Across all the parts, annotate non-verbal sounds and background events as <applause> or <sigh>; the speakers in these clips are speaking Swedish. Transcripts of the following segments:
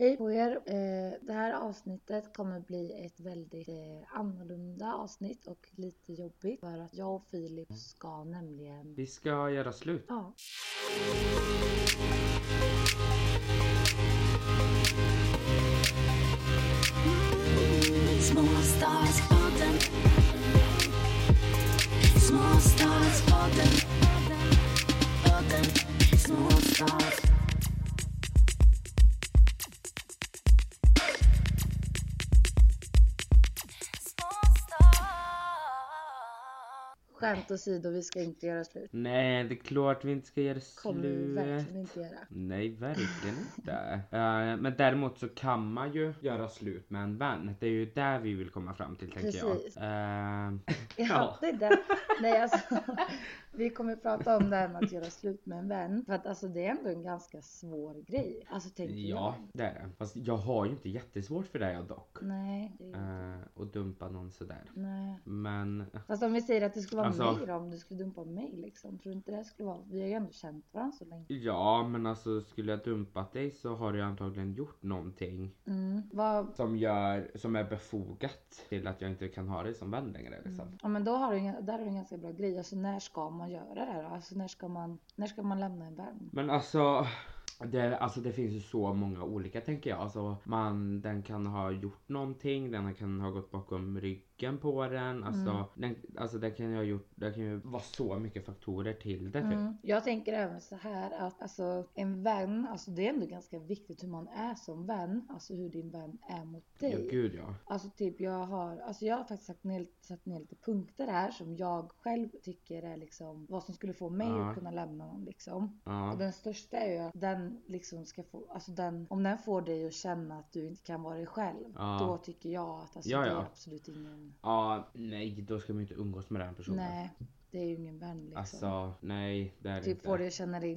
Hej på er! Eh, Det här avsnittet kommer bli ett väldigt eh, annorlunda avsnitt och lite jobbigt för att jag och Filip ska nämligen... Vi ska göra slut. Ja. Small stars falling. Small stars falling. Falling. Small stars. Small stars. Skämt åsido, vi ska inte göra slut. Nej, det är klart vi inte ska göra kommer vi verkligen slut. inte <laughs> göra. Nej, verkligen inte. Eh, men däremot så kan man ju göra slut med en vän. Det är ju där vi vill komma fram till, tänker Precis. jag. Eh, Ja, Ja. det är det. Nej, alltså, <laughs> vi kommer prata om det här med att göra slut med en vän. För att alltså, det är ändå en ganska svår grej. Alltså tänker ja, det är det. Fast jag har ju inte jättesvårt för det jag dock. jag. Nej, det är inte. Eh, och dumpa någon sådär. Nej. Men Fast om vi säger att det skulle vara Alltså- mig då, om du skulle dumpa mig liksom. Tror du inte det skulle vara? Vi har ju ändå känt varandra så länge. ja, men alltså skulle jag dumpat dig så har jag antagligen gjort någonting Mm. Vad... som gör, som är befogat till att jag inte kan ha dig som vän längre liksom. Ja men då har du, en- där har du en ganska bra grej. Alltså när ska man göra det här då? Alltså när ska man, när ska man lämna en vän? Men alltså det, alltså det finns ju så många olika tänker jag. Alltså man, den kan ha gjort någonting, den kan ha gått bakom ryggen på den. Alltså, Mm. den, alltså den kan ju ha gjort, det kan ju vara så mycket faktorer till det. typ. Mm. Jag tänker även så här att alltså, en vän, alltså det är ändå ganska viktigt hur man är som vän. Alltså hur din vän är mot Ja, dig. gud ja. Alltså typ jag har, alltså jag har faktiskt satt ner, satt ner lite punkter här som jag själv tycker är liksom vad som skulle få mig Ja. att kunna lämna någon liksom. ja. Och den största är ju att den liksom ska få, alltså den, om den får dig att känna att du inte kan vara dig själv. Ja. Då tycker jag att alltså, Ja, det är ja. absolut ingen, Ja, nej då ska man ju inte umgås med den personen. nej det är ju ingen vän liksom. Alltså nej det är det Typ inte. får dig att känna dig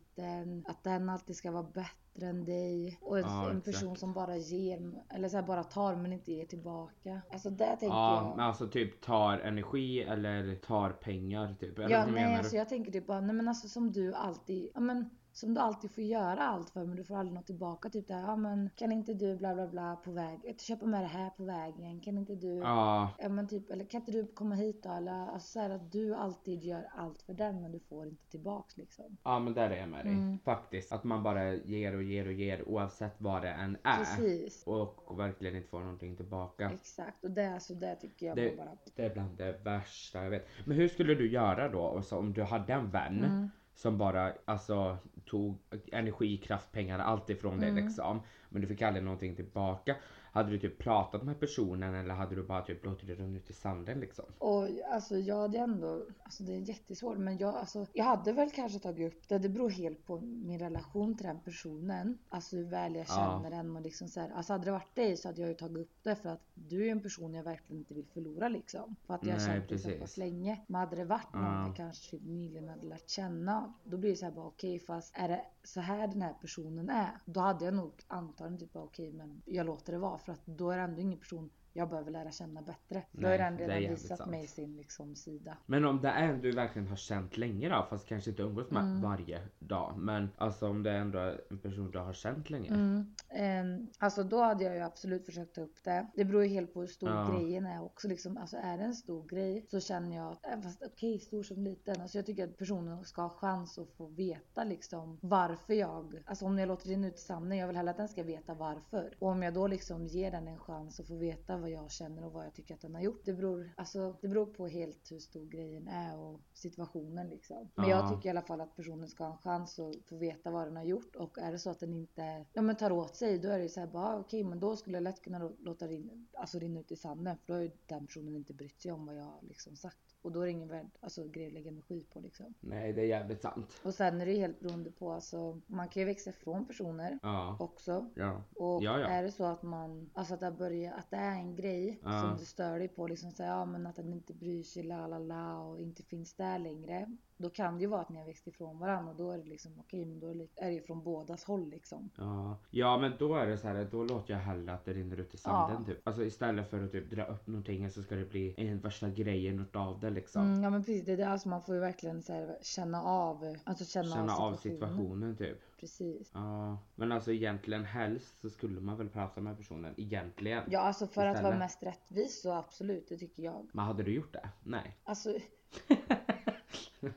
liten, att den alltid ska vara bättre än dig. Och en, Ja, en person exakt. som bara ger, eller så här, bara tar men inte ger tillbaka. Alltså det tänker Ja, jag. men alltså typ tar energi eller tar pengar typ. Eller Ja, vad nej, menar alltså du? jag tänker typ bara, nej men alltså som du alltid, ja men som du alltid får göra allt för men du får aldrig något tillbaka. Typ det här, ja men kan inte du bla bla bla på väg, eh, köpa med det här på vägen, kan inte du, ja. Ja, men typ, eller kan inte du komma hit då? Eller alltså så här att du alltid gör allt för den men du får inte tillbaks liksom. Ja men där är jag med dig. Mm. Faktiskt. Att man bara ger och ger och ger oavsett vad det än är. Precis. Och verkligen inte får någonting tillbaka. Exakt, och det, alltså, det tycker jag Det, var bara... det är bland det värsta jag vet. Men hur skulle du göra då och så om du hade en vän Mm. som bara alltså, tog energi, kraft, pengar, allt ifrån Mm. dig liksom. Men du fick aldrig någonting tillbaka. Hade du typ pratat med personen eller hade du bara typ låtit det rinna ut i sanden liksom? Och alltså jag hade ändå, alltså det är jättesvårt men jag, alltså, jag hade väl kanske tagit upp det. Det beror helt på min relation till den personen. Alltså hur väl jag Ja. känner den och liksom så här, alltså hade det varit dig så hade jag ju tagit upp det för att du är ju en person jag verkligen inte vill förlora liksom. För att jag har Nej, känt dig så precis. pass länge. Men hade det varit någon Ja. jag kanske typ nyligen hade lärt känna, då blir det så här bara okej fast är det så här den här personen är? Då hade jag nog antagligen typ bara okej men jag låter det vara för att då är det ändå ingen person jag behöver lära känna bättre. Då har Nej, den det är redan jävligt visat sant. mig sin liksom, sida. Men om det är en du verkligen har känt länge då, fast kanske inte umgås med Mm. varje dag. Men alltså om det är ändå en person du har känt länge. Mm. Ehm, alltså då hade jag ju absolut försökt ta upp det. Det beror ju helt på hur stor Ja. grejen är också. Liksom, alltså är det en stor grej så känner jag att, eh, fast okej stor som liten. Alltså jag tycker att personen ska ha chans att få veta liksom varför jag, alltså om jag låter den ut i sanden, jag vill hellre att den ska veta varför. Och om jag då liksom ger den en chans att få veta vad jag känner och vad jag tycker att den har gjort. Det beror, alltså, det beror på helt hur stor grejen är och situationen liksom. Men jag Ja. tycker i alla fall att personen ska ha en chans att få veta vad den har gjort och är det så att den inte ja, men tar åt sig då är det ju så här bara ah, okej men då skulle jag lätt kunna lå- låta rin, alltså rinna ut i sanden för då har ju den personen inte brytt sig om vad jag har liksom sagt. Och då är det ingen värd, alltså, grej att lägga energi på liksom. Nej, det är jävligt sant. Och sen är det ju helt beroende på alltså, man kan ju växa ifrån personer Ja. också. Ja. Och Ja, ja. är det så att man, alltså att det börjar, att det är en grej Ja. som du stör dig på, liksom säga ja men att den inte bryr sig, la la la och inte finns där längre. Då kan det ju vara att ni har växt ifrån varandra och då är det liksom okej, men då är det- är det ju från bådas håll liksom. Ja. ja men då är det så här, då låter jag hellre att det rinner ut i sanden typ. Alltså istället för att typ dra upp någonting så ska det bli en värsta grejen utav det liksom. Mm, ja men precis, det är det alltså man får ju verkligen så här, känna av, alltså känna, Känna av av situationen. situationen typ. Precis. Ja, men alltså egentligen helst så skulle man väl prata med personen egentligen. Ja alltså för att vara Istället. mest rättvis så absolut, det tycker jag. Men hade du gjort det? Nej. <laughs> Alltså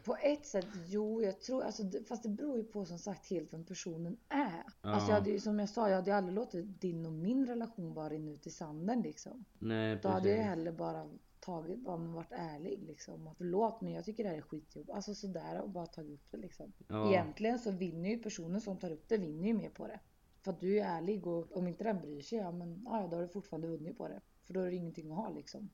på ett sätt, jo jag tror, alltså, det- fast det beror ju på som sagt helt vem personen är. Ja. Alltså jag hade ju, som jag sa, jag hade ju aldrig låtit din och min relation bara rinna ut i sanden liksom. Nej Då hade jag ju precis. hellre bara tagit, bara men varit ärlig liksom. Och Förlåt men jag tycker det här är skitjobb. Alltså sådär och bara tagit upp det liksom. Ja. Egentligen så vinner ju personen som tar upp det vinner ju mer på det. För att du är ärlig och om inte den bryr sig, ja men ja, då har du fortfarande vunnit på det. För då är det ingenting att ha liksom.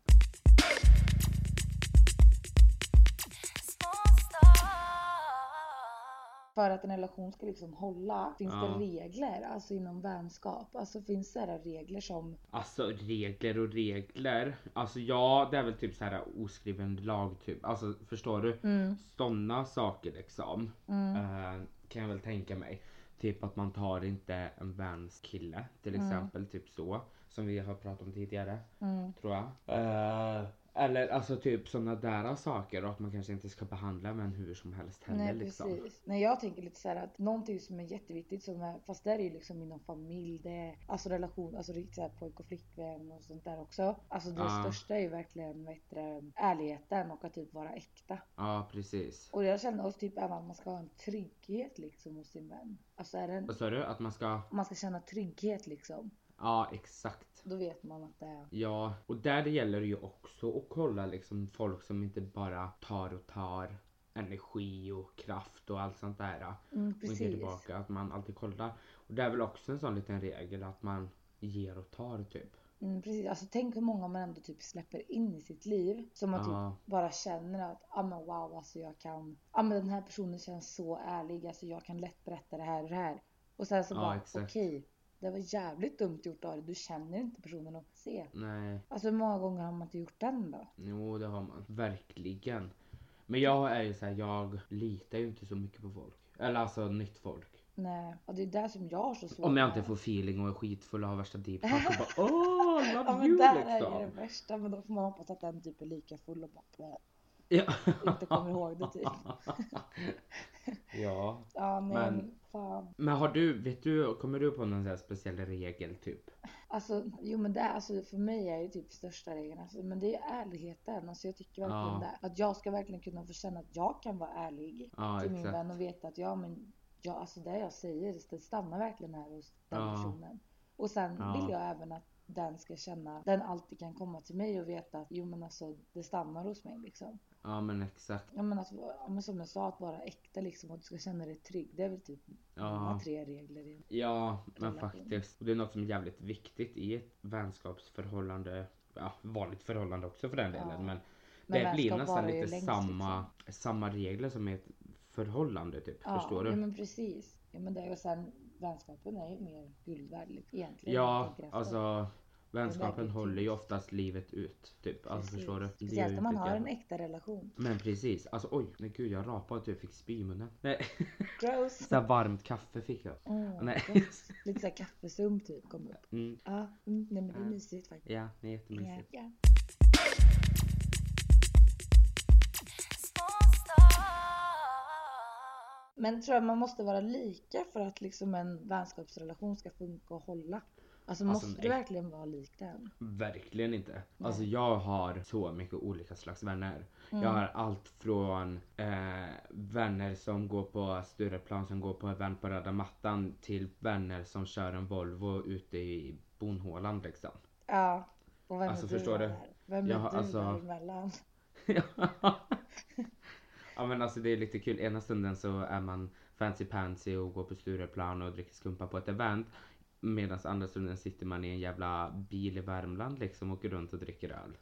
För att en relation ska liksom hålla finns Ja. det regler, alltså inom vänskap. Alltså finns det här regler som, Alltså regler och regler. Alltså ja, det är väl typ så här oskriven lag typ. Alltså förstår du? Mm. Sådana saker liksom. mm, Eh, kan jag väl tänka mig. Typ att man tar inte en väns kille till Mm. exempel. Typ så. Som vi har pratat om tidigare. mm, Tror jag. Eh, eller alltså typ sådana där saker. Och att man kanske inte ska behandla män hur som helst heller nej liksom. precis. Nej jag tänker lite så här att någonting som är jätteviktigt som är, fast det är ju liksom inom familj, det är alltså relation, alltså riktigt så här pojk och flickvän och sånt där också. Alltså det Ja. största är ju verkligen, vad heter det, ärligheten och att typ vara äkta. Ja precis. Och jag känner också typ även att man ska ha en trygghet liksom hos sin vän. Alltså är det en, Vad sa du? Att man ska... man ska känna trygghet liksom. Ja exakt. Då vet man att det är... Ja, och där gäller det ju också att kolla liksom folk som inte bara tar och tar energi och kraft och allt sånt där. Mm, Och inte precis. tillbaka, att man alltid kollar. Och det är väl också en sån liten regel att man ger och tar typ. Mm, precis. Alltså, tänk hur många man ändå typ släpper in i sitt liv. Som man Ja. typ bara känner att ah, men wow, alltså jag kan... Ah, men den här personen känns så ärlig. Alltså, jag kan lätt berätta det här och det här. Och sen så Ja, bara okej. exakt. det var jävligt dumt gjort av dig. Du känner inte personen och se. Nej, Alltså hur många gånger har man inte gjort den då? jo det har man. Verkligen. Men jag är ju såhär, jag litar ju inte så mycket på folk. Eller alltså nytt folk. Nej. Och det är där som jag har så svårt Om jag med. inte får feeling och är skitfull och har värsta deep talk <laughs> och bara åh, I Ja love men you där är ju det liksom. värsta. Men då får man hoppas att den typ är lika full och bara blä, Ja. inte kommer ihåg det <laughs> typ. ja. Ja nej, Men- men fan. Men har du, vet du, kommer du på någon sån här speciell regel typ? Alltså, jo men det är, alltså, för mig är ju typ största regeln, alltså, men det är ju ärligheten. Alltså, jag tycker verkligen Ja. det. Att jag ska verkligen kunna få känna att jag kan vara ärlig Ja till min exakt. vän och veta att ja men, ja, alltså det jag säger det stannar verkligen här hos den Ja. personen. Och sen Ja. vill jag även att den ska känna, den alltid kan komma till mig och veta att jo men alltså det stannar hos mig liksom. Ja men exakt. Ja men, att, ja, men som jag sa, att vara äkta liksom och att du ska känna dig trygg. Det är väl typ mina Ja. tre regler. i- Ja men Relation. faktiskt. Och det är något som är jävligt viktigt i ett vänskapsförhållande. Ja vanligt förhållande också för den Ja. delen. Men, Men det blir vänskap nästan varar ju lite längst, liksom. samma, samma regler som i ett förhållande typ. Ja, Förstår Ja du? men precis. Ja, men det, och sen vänskapen är ju mer guld värd liksom, egentligen. om man Ja tänker efter. alltså vänskapen verkligen håller ju fint. oftast livet ut. Typ. Alltså Precis. förstår du? Det gör Speciellt ju om man inte ett har en jävla- äkta relation. Men precis. Alltså oj, nej gud jag rapade och typ fick spy i munnen. Nej, Gross! så här varmt kaffe fick jag. Mm, <laughs> Nej. gross. Lite såhär kaffesump typ kom upp. Mm. Ja, mm, nej men det är Ja. mysigt faktiskt. Ja, det är Ja. jättemysigt. Ja. Men tror jag man måste vara lika för att liksom en vänskapsrelation ska funka och hålla? Alltså, Alltså, måste en du äk- verkligen vara lik den? Verkligen inte. Alltså jag har så mycket olika slags vänner. Jag har allt från eh, vänner som går på Stureplan som går på event på röda mattan till vänner som kör en Volvo ute i bonhålan liksom. Ja. Och vem Alltså, är du förstår du? där? Vem Jag är har- du alltså- däremellan? ja men alltså det är lite kul. Ena stunden så är man fancy pansy och går på Stureplan och dricker skumpa på ett event. Medan andra stunden sitter man i en jävla bil i Värmland liksom och åker runt och dricker öl.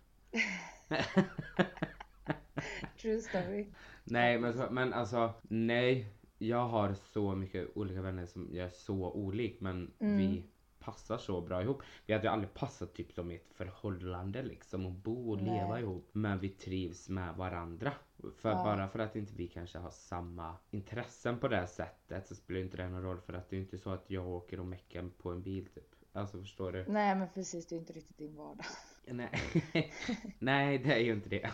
True story. Nej men, så, men alltså nej. Jag har så mycket olika vänner som jag är så olik men Mm. vi passar så bra ihop. Vi hade ju aldrig passat typ som i ett förhållande liksom och bo och Nej. leva ihop. Men vi trivs med varandra. För Ja. Bara för att inte vi kanske har samma intressen på det här sättet så spelar inte det någon roll för att det är ju inte så att jag åker och meckar på en bil typ. Alltså förstår du? <laughs> Nej men precis, det är inte riktigt din vardag. Nej, Nej det är ju inte det.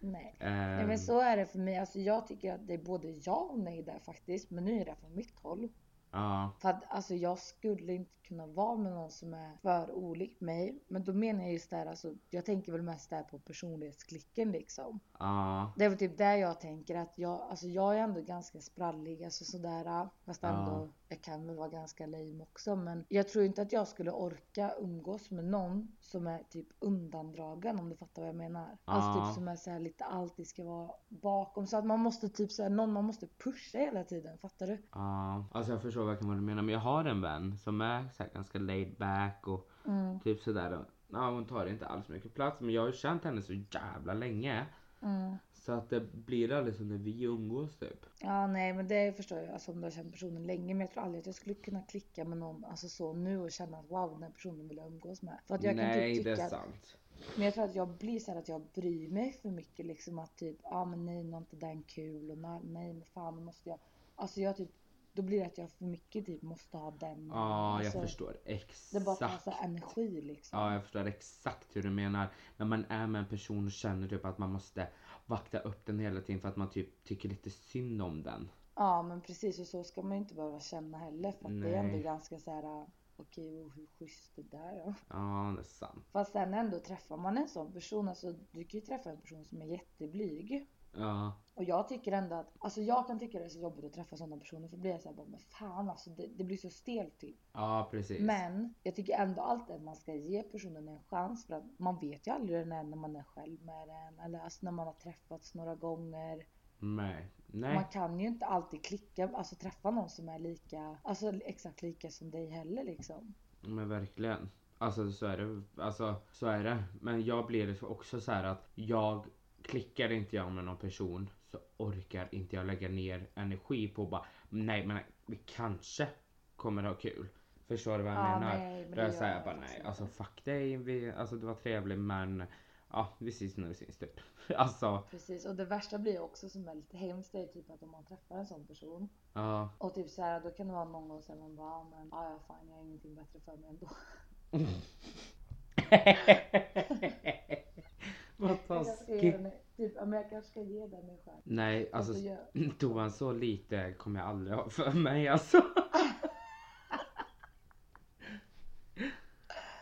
Nej. Nej Ehm, men så är det för mig. Alltså jag tycker att det är både ja och nej där faktiskt. Men nu är det från mitt håll. Ja, För att alltså jag skulle inte kunna vara med någon som är för olik mig. Men då menar jag just där alltså. Jag tänker väl mest där på personlighetsklicken liksom. ja, Det är väl typ där jag tänker att jag, alltså jag är ändå ganska sprallig, alltså sådär. Fast Ja. ändå, jag kan väl vara ganska lame också. Men jag tror inte att jag skulle orka umgås med någon som är typ undandragen om du fattar vad jag menar. Alltså Ja. typ som är såhär lite alltid ska vara bakom. Så att man måste typ såhär, någon man måste pusha hela tiden, fattar du? ja. Alltså jag förstår verkligen vad du menar men jag har en vän som är så här ganska laid back och Mm, typ sådär. Ja, hon tar inte alls mycket plats men jag har ju känt henne så jävla länge. mm. Så att det blir aldrig som när vi umgås typ. Ja nej men det förstår jag, alltså om du har känt personen länge. Men jag tror aldrig att jag skulle kunna klicka med någon, alltså så nu och känna att wow den här personen vill jag umgås med. För att jag kan Nej typ det tycka är att sant. Men jag tror att jag blir så här att jag bryr mig för mycket liksom att typ, ja ah, men nej nu är inte den kul och nej, nej men fan nu måste jag. Alltså jag typ, då blir det att jag för mycket typ måste ha den. Ja jag alltså, förstår Det är bara att exakt. passa energi liksom. Ja jag förstår exakt hur du menar. När man är med en person och känner typ att man måste vakta upp den hela tiden för att man typ tycker lite synd om den. Ja men precis och så ska man ju inte behöva känna heller för att det är ändå Nej. ganska så här. ah, Okej, och hur schysst det där är. Ja det är sant. Fast sen ändå träffar man en sån person, alltså du kan ju träffa en person som är jätteblyg. Ja. Och jag tycker ändå att, alltså jag kan tycka det är så jobbigt att träffa sådana personer för då blir jag såhär bara, men fan alltså det, det blir så stelt till. Ja precis. Men jag tycker ändå alltid att man ska ge personen en chans för att man vet ju aldrig hur den är när man är själv med den eller alltså när man har träffats några gånger. Nej. Nej. Man kan ju inte alltid klicka, alltså träffa någon som är lika, alltså exakt lika som dig heller liksom. Men verkligen. Alltså så är det. Alltså så är det. Men jag blir också så här att jag klickar inte jag med någon person så orkar inte jag lägga ner energi på bara nej men vi kanske kommer ha kul. Förstår du vad jag Ja, menar? nej, men Då är det jag gör såhär jag bara faktiskt nej inte. alltså fuck dig. Vi, alltså du var trevlig men ja vi ses när vi syns typ. <laughs> Alltså Precis och det värsta blir ju också som är lite hemskt det är typ att om man träffar en sån person ja. och typ så här, då kan det vara någon gång sen man bara "Ah, men ja ja fan jag har ingenting bättre för mig ändå. Vad Jag kanske ska ge taskigt. den, typ, ja, men jag kanske ska ge den en chans. Nej alltså Alltså, jag, <laughs> Tog han så lite kommer jag aldrig ha för <laughs> mig alltså.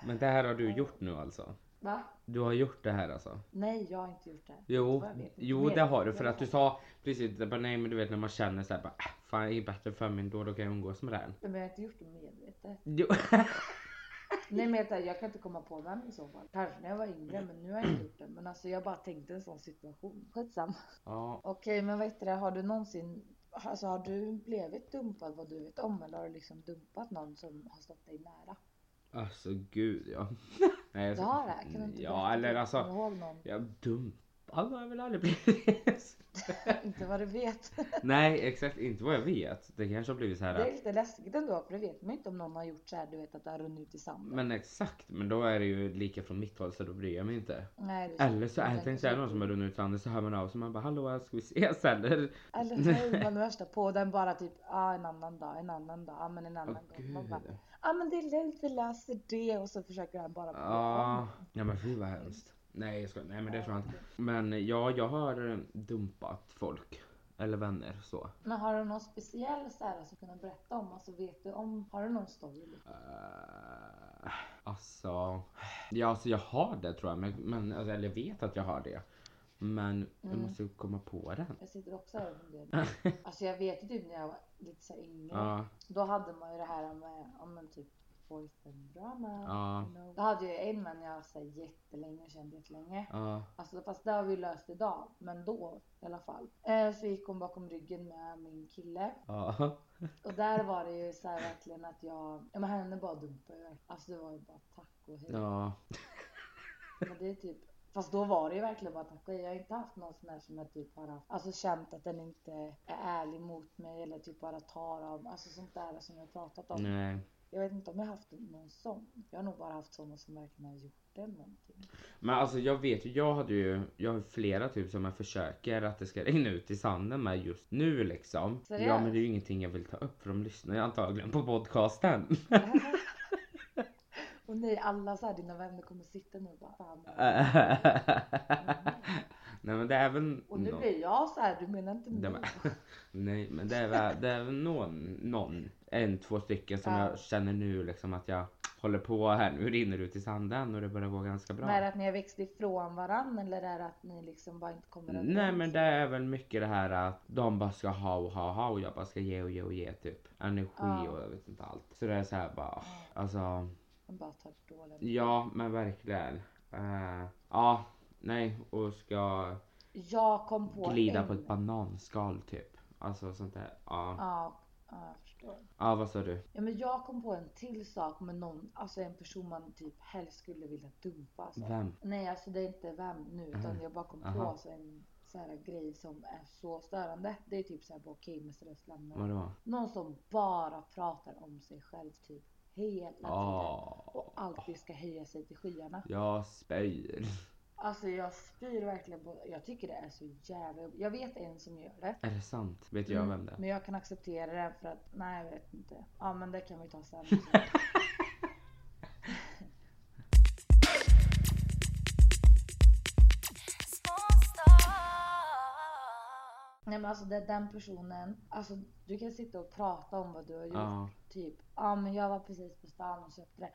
Men det här har du gjort nu alltså? va? Du har gjort det här alltså? Nej jag har inte gjort det. Jo, Vad jag vet inte. jo Mer det har du än- för att du sa precis, jag bara, nej men du vet när man känner såhär bara, äh, fan jag är bättre för mig då, då kan jag umgås med den. Men jag har inte gjort det medvetet. <laughs> Jo. Nej men jag, jag kan inte komma på vem i så fall. Kanske när jag var yngre men nu har jag inte gjort det. Men alltså jag bara tänkte en sån situation. Skitsamma. Ja, Okej men vad heter det, har du någonsin Alltså har du blivit dumpad vad du vet om eller har du liksom dumpat någon som har stått dig nära? alltså <laughs> gud ja. Nej, Du alltså, har det? Kan du inte Ja berätta? eller Kommer alltså, du ihåg någon? jag dumpad har jag väl aldrig blivit. Inte vad du vet. <laughs> nej exakt, inte vad jag vet. Det kanske har blivit så här. Det är lite läskigt ändå för det vet man inte om någon har gjort så här du vet att det har runnit ut i sanden. Men exakt, men då är det ju lika från mitt håll så då bryr jag mig inte. Nej, det Eller så är det inte kanske- är någon som har runnit ut landet så hör man av sig man bara hallå ska vi ses eller? Eller hur? Man är värsta på den bara typ ah, en annan dag, en annan dag, ah, men en Åh annan gång. Man gud. bara, ah, men det är lugnt, vi löser det och så försöker han bara Ja, ja men fy vad hemskt. Nej jag skojar, nej men det tror jag inte. Men ja, jag har eh, dumpat folk. Eller vänner så. Men har du någon speciell så här som du kan berätta om? Alltså vet du om, har du någon story? liksom? Uh, alltså, ja alltså jag har det tror jag, men, men alltså, eller jag vet att jag har det. Men jag Mm. måste ju komma på den. Jag sitter också här och <laughs> funderar. Alltså jag vet ju typ när jag var lite så här yngre. Ja, Då hade man ju det här med, ja men typ boyfriend drama. Ja. you know. Då hade jag ju en vän jag så här jättelänge och kände jättelänge. ja, Alltså fast det har vi löst idag, men då i alla fall. Eh, så gick hon bakom ryggen med min kille. ja. Och där var det ju så här verkligen att jag, ja men henne bara dumpade jag. Alltså det var ju bara tack och hej. Ja, Men det är typ, fast då var det ju verkligen bara tack och hej. Jag har inte haft någon sån här som jag typ har haft, alltså känt att den inte är ärlig mot mig eller typ bara tar av, alltså sånt där som jag har pratat om. nej. Jag vet inte om jag har haft någon sån. Jag har nog bara haft såna som verkligen har gjort det någonting. Men alltså jag vet ju, jag hade ju, jag har flera typ som jag försöker att det ska regna ut i sanden med just nu liksom. Seriöst? Ja men det är ju ingenting jag vill ta upp för de lyssnar ju antagligen på podcasten. <laughs> och <laughs> nej, alla så här, dina vänner kommer sitta nu och bara fan. Nej men det är väl Och nu någon- blir jag så här, du menar inte det mig? var, Nej men det är väl, det är väl någon, någon, en, två stycken som Ja. jag känner nu liksom att jag håller på här. Nu rinner det ut i sanden och det börjar gå ganska <laughs> bra. Men är det att ni har växt ifrån varandra eller är det att ni liksom bara inte kommer Nej men det är väl mycket det här att de bara ska ha och ha och ha och jag bara ska ge och ge och ge typ. Energi Ja. och jag vet inte allt. Så det är så här bara, åh, alltså De bara tar dåligt. ja men verkligen. Eh, ja, nej och ska Jag kom på glida en... på ett bananskal typ. Alltså sånt där. Ja, Ja, ja, jag förstår. ja vad sa du? Ja, men jag kom på en till sak med någon, alltså en person man typ helst skulle vilja dumpa. Alltså. Vem? Nej alltså det är inte vem nu utan Mhm. jag bara kom Aha. på så en så här grej som är så störande. Det är typ såhär, okej okay, men seriöst lämna det. Vadå? Någon som bara pratar om sig själv typ hela tiden. Och Ja, alltid ska höja sig till skyarna. jag spyr. Alltså jag spyr verkligen på Jag tycker det är så jävla jobbigt. Jag vet en som gör det. <laughs> Är det sant? Vet jag vem det är? Men jag kan acceptera det för att, nej jag vet inte. Ja men det kan vi ta sen. nej men alltså det, den personen, alltså du kan sitta och prata om vad du har gjort. Ja, Typ, ja men jag var precis på stan och köpte det.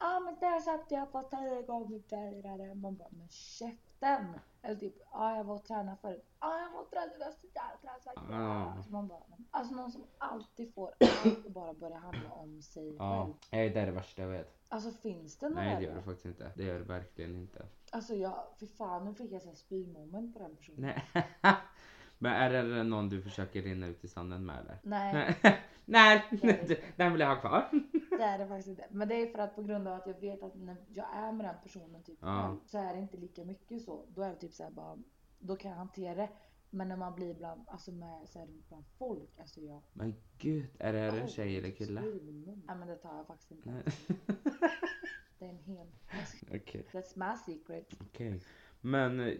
Ja men där köpte jag på tio gånger dyrare. Man bara, men käften! Eller typ, ja jag var och tränade förut. Ja jag var och tränade, det var så jäkla säkert. Ja. Alltså man bara, men- alltså någon som alltid <clears throat> får allt och bara börjar handla om sig själv. ja. Nej, det är det värsta jag vet. Alltså finns det någon Nej det gör värre? det faktiskt inte. Det gör det verkligen inte. Alltså jag, för fan nu fick jag såhär spymoment på den personen. Nej. <laughs> Men är det någon du försöker rinna ut i sanden med eller? Nej, Nej, <laughs> Nej. du- <laughs> den vill jag ha kvar. det är det faktiskt inte. Men det är för att på grund av att jag vet att när jag är med den personen typ Ja. själv, så är det inte lika mycket så. Då är det typ såhär bara, då kan jag hantera det. Men när man blir bland, alltså med, så här, bland folk, alltså jag... Men gud, är det här en tjej eller Typ kille? spymoment. Nej men det tar jag faktiskt inte. Nej. <laughs> Det är en hel... Okej, That's my secret. okej. Men eh,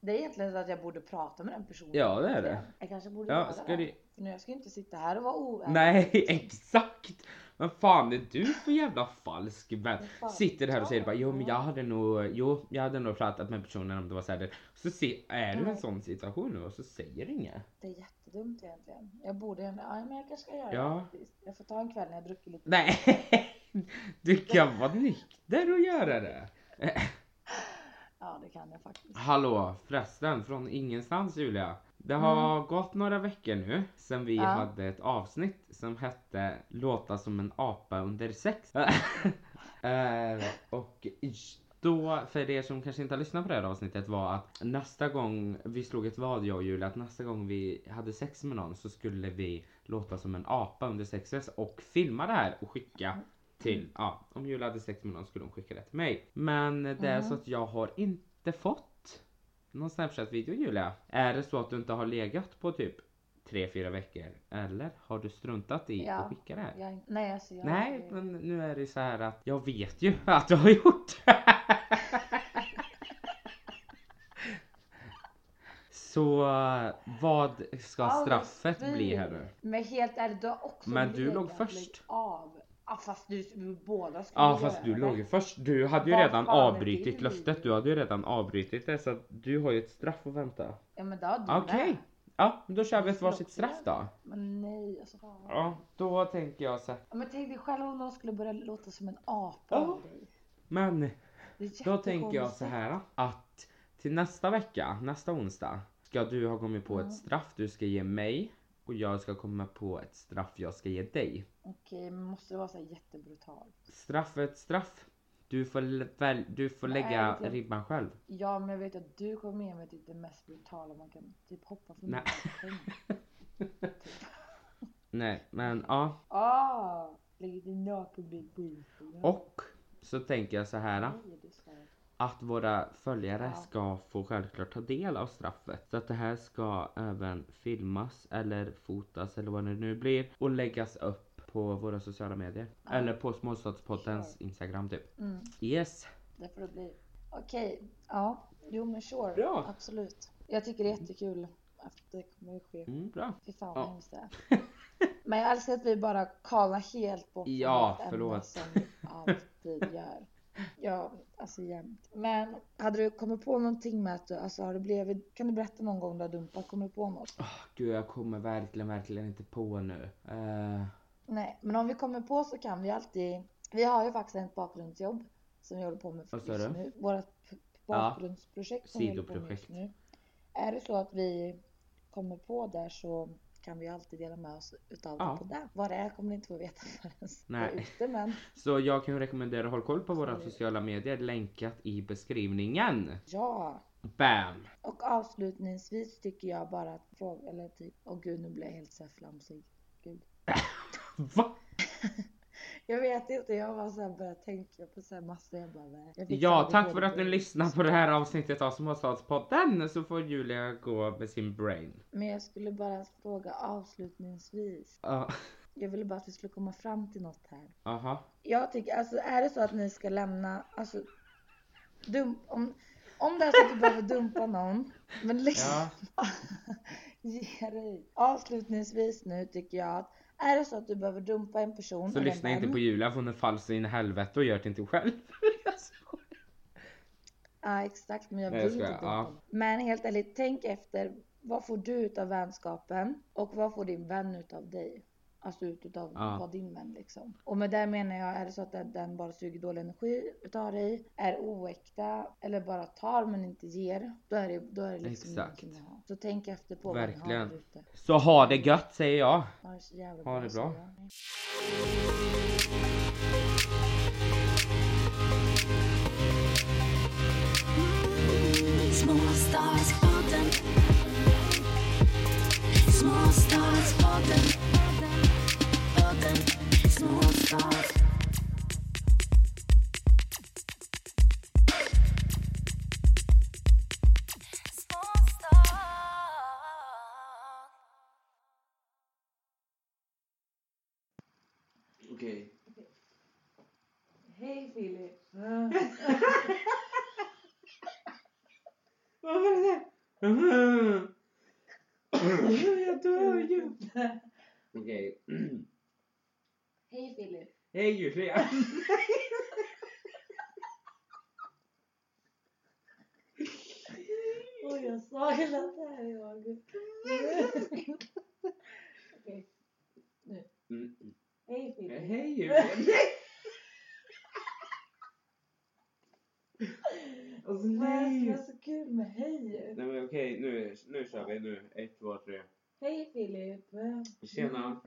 Det är egentligen så att jag borde prata med den personen. ja det är det. Jag kanske borde Ja, göra ska det. du... För nu, jag ska ju inte sitta här och vara oärlig. Nej <laughs> exakt! Men fan är du för jävla falsk vän? fan. Sitter här och säger bara jo men jag hade nog, jo jag hade nog pratat med personen om det var såhär. Så se, är du i en sån situation nu och så säger du inget. Det är jättedumt egentligen. Jag borde ändå, ja men jag kanske ska göra Ja. det faktiskt. Jag får ta en kväll när jag druckit lite. Nej! <laughs> Du kan vara nykter och göra det. Ja det kan jag faktiskt. Hallå förresten, från ingenstans Julia. Det har gått några veckor nu sen vi Ja. hade ett avsnitt som hette Låta som en apa under sex. <laughs> Eh, och då, för er som kanske inte har lyssnat på det här avsnittet var att nästa gång vi slog ett vad jag och Julia att nästa gång vi hade sex med någon så skulle vi låta som en apa under sexet och filma det här och skicka till, ja om Julia hade sex med någon skulle hon skicka det till mig. Men det är Mm. så att jag har inte fått någon Snapchat-video Julia. Är det så att du inte har legat på typ 3-4 veckor eller har du struntat i Ja. att skicka det här? Jag, nej alltså jag... Nej, men nu är det så här att jag vet ju <laughs> att du har gjort <laughs> det. Så vad ska Alldeles straffet fint. bli här nu? Men helt ärligt du har också Men du legat. låg först. Lägg av. Ja fast du, vi båda skulle Ja göra fast du det. låg ju först. Du hade ju Vad redan fan är avbrutit det? löftet. Du hade ju redan avbrutit det så att du har ju ett straff att vänta. Ja men det har du Okej. med. Ja, men då kör vi ett varsitt straff då. Men nej alltså. fan. Ja, då tänker jag så här. Ja, Men tänk dig själv om någon skulle börja låta som en apa Ja. av dig. Men Det är Då tänker jag jättekonstigt. så här att till nästa vecka, nästa onsdag, ska du ha kommit på Mm. ett straff du ska ge mig och jag ska komma på ett straff jag ska ge dig. Okej men måste det vara så här jättebrutalt? Straffet straff. Du får, l- väl, du får Nej, lägga det- ribban själv. Ja men jag vet att du kommer med mig till det mest brutala man kan typ hoppa från Nej. balkongen. Nej, men ja. Ah, lägger din nakenbild på Instagram. Och så tänker jag så här Nej, det ska jag. att våra följare Ja. ska få självklart ta del av straffet. Så att det här ska även filmas eller fotas eller vad det nu blir och läggas upp på våra sociala medier. Eller på Småstadspoddens Instagram typ. Mm, Yes. det får det bli. Okej, ja. Jo men sure. Bra. Absolut. Jag tycker det är jättekul att det kommer att ske. Mm, bra. Fy fan Ja. vad hemskt det <laughs> är. Men jag älskar att vi bara kavlar helt bort från Ja, vårt ämne förlåt. <laughs> som vi alltid gör. Ja, Alltså jämt. Men hade du kommit på någonting med att du, alltså har du blivit, kan du berätta någon gång du har dumpat? Kommer du på något? Ah, gud, jag kommer verkligen, verkligen inte på nu. Eh, Nej, men om vi kommer på så kan vi alltid, vi har ju faktiskt ett bakgrundsjobb som vi håller på med Vad just sa du? nu. Vårt p- bakgrundsprojekt som vi håller på med just sidoprojekt. nu. Är det så att vi kommer på där så kan vi ju alltid dela med oss utav Ja. det på det. Vad det är kommer ni inte få veta förrän det är Nej. ute men så jag kan ju rekommendera håll koll på våra sociala medier länkat i beskrivningen. ja. Bam! Och avslutningsvis tycker jag bara att fråga, eller typ, åh gud nu blir jag helt så här flamsig. Gud. Va? Jag vet inte, jag bara såhär började tänka på såhär massa, jag bara nej. Jag fick Ja, aldrig tack gå för det att ni bra. lyssnar på det här avsnittet av Småstadspodden så får Julia gå med sin brain. Men jag skulle bara fråga avslutningsvis. Ja, Jag ville bara att vi skulle komma fram till något här. Aha. Jag tycker, alltså är det så att ni ska lämna, alltså dum, om, om det är så att du behöver dumpa någon, men lyssna. <laughs> Ge dig. Avslutningsvis nu tycker jag att är det så att du behöver dumpa en person Så Mm. eller en lyssna inte vän- på Julia för hon är falsk in i helvete och gör det inte själv. Ja exakt men jag Nej, vill jag inte skojar. dumpa Ja. någon. Men helt ärligt, tänk efter. Vad får du utav vänskapen? Och vad får din vän utav dig? Alltså ut utav Ja. vad din vän liksom. Och med det menar jag, är det så att den, den bara suger dålig energi utav dig? Är oäkta? Eller bara tar men inte ger? Då är det, då är det liksom Exakt. ingenting att ha. Så tänk efter på vad ni har Verkligen. där ute. Så ha det gött säger jag. Ha det så jävla Ha det så bra. jag. Small stars falling. Small stars falling. Falling. Small stars. Small stars. <laughs> Okej. Hej Filip! Vad var det där? Jag dör ju! Okej. Hej Filip! Hej Julia! Oj jag saknar det här jag. Mm. Hej Filip! Eh, Hej Julia! Alltså Vad är det som är nej! så kul med hej? Nej men okej, nu, nu kör vi. Nu. Ett, två, tre. nou? Hej Filip! Tjena.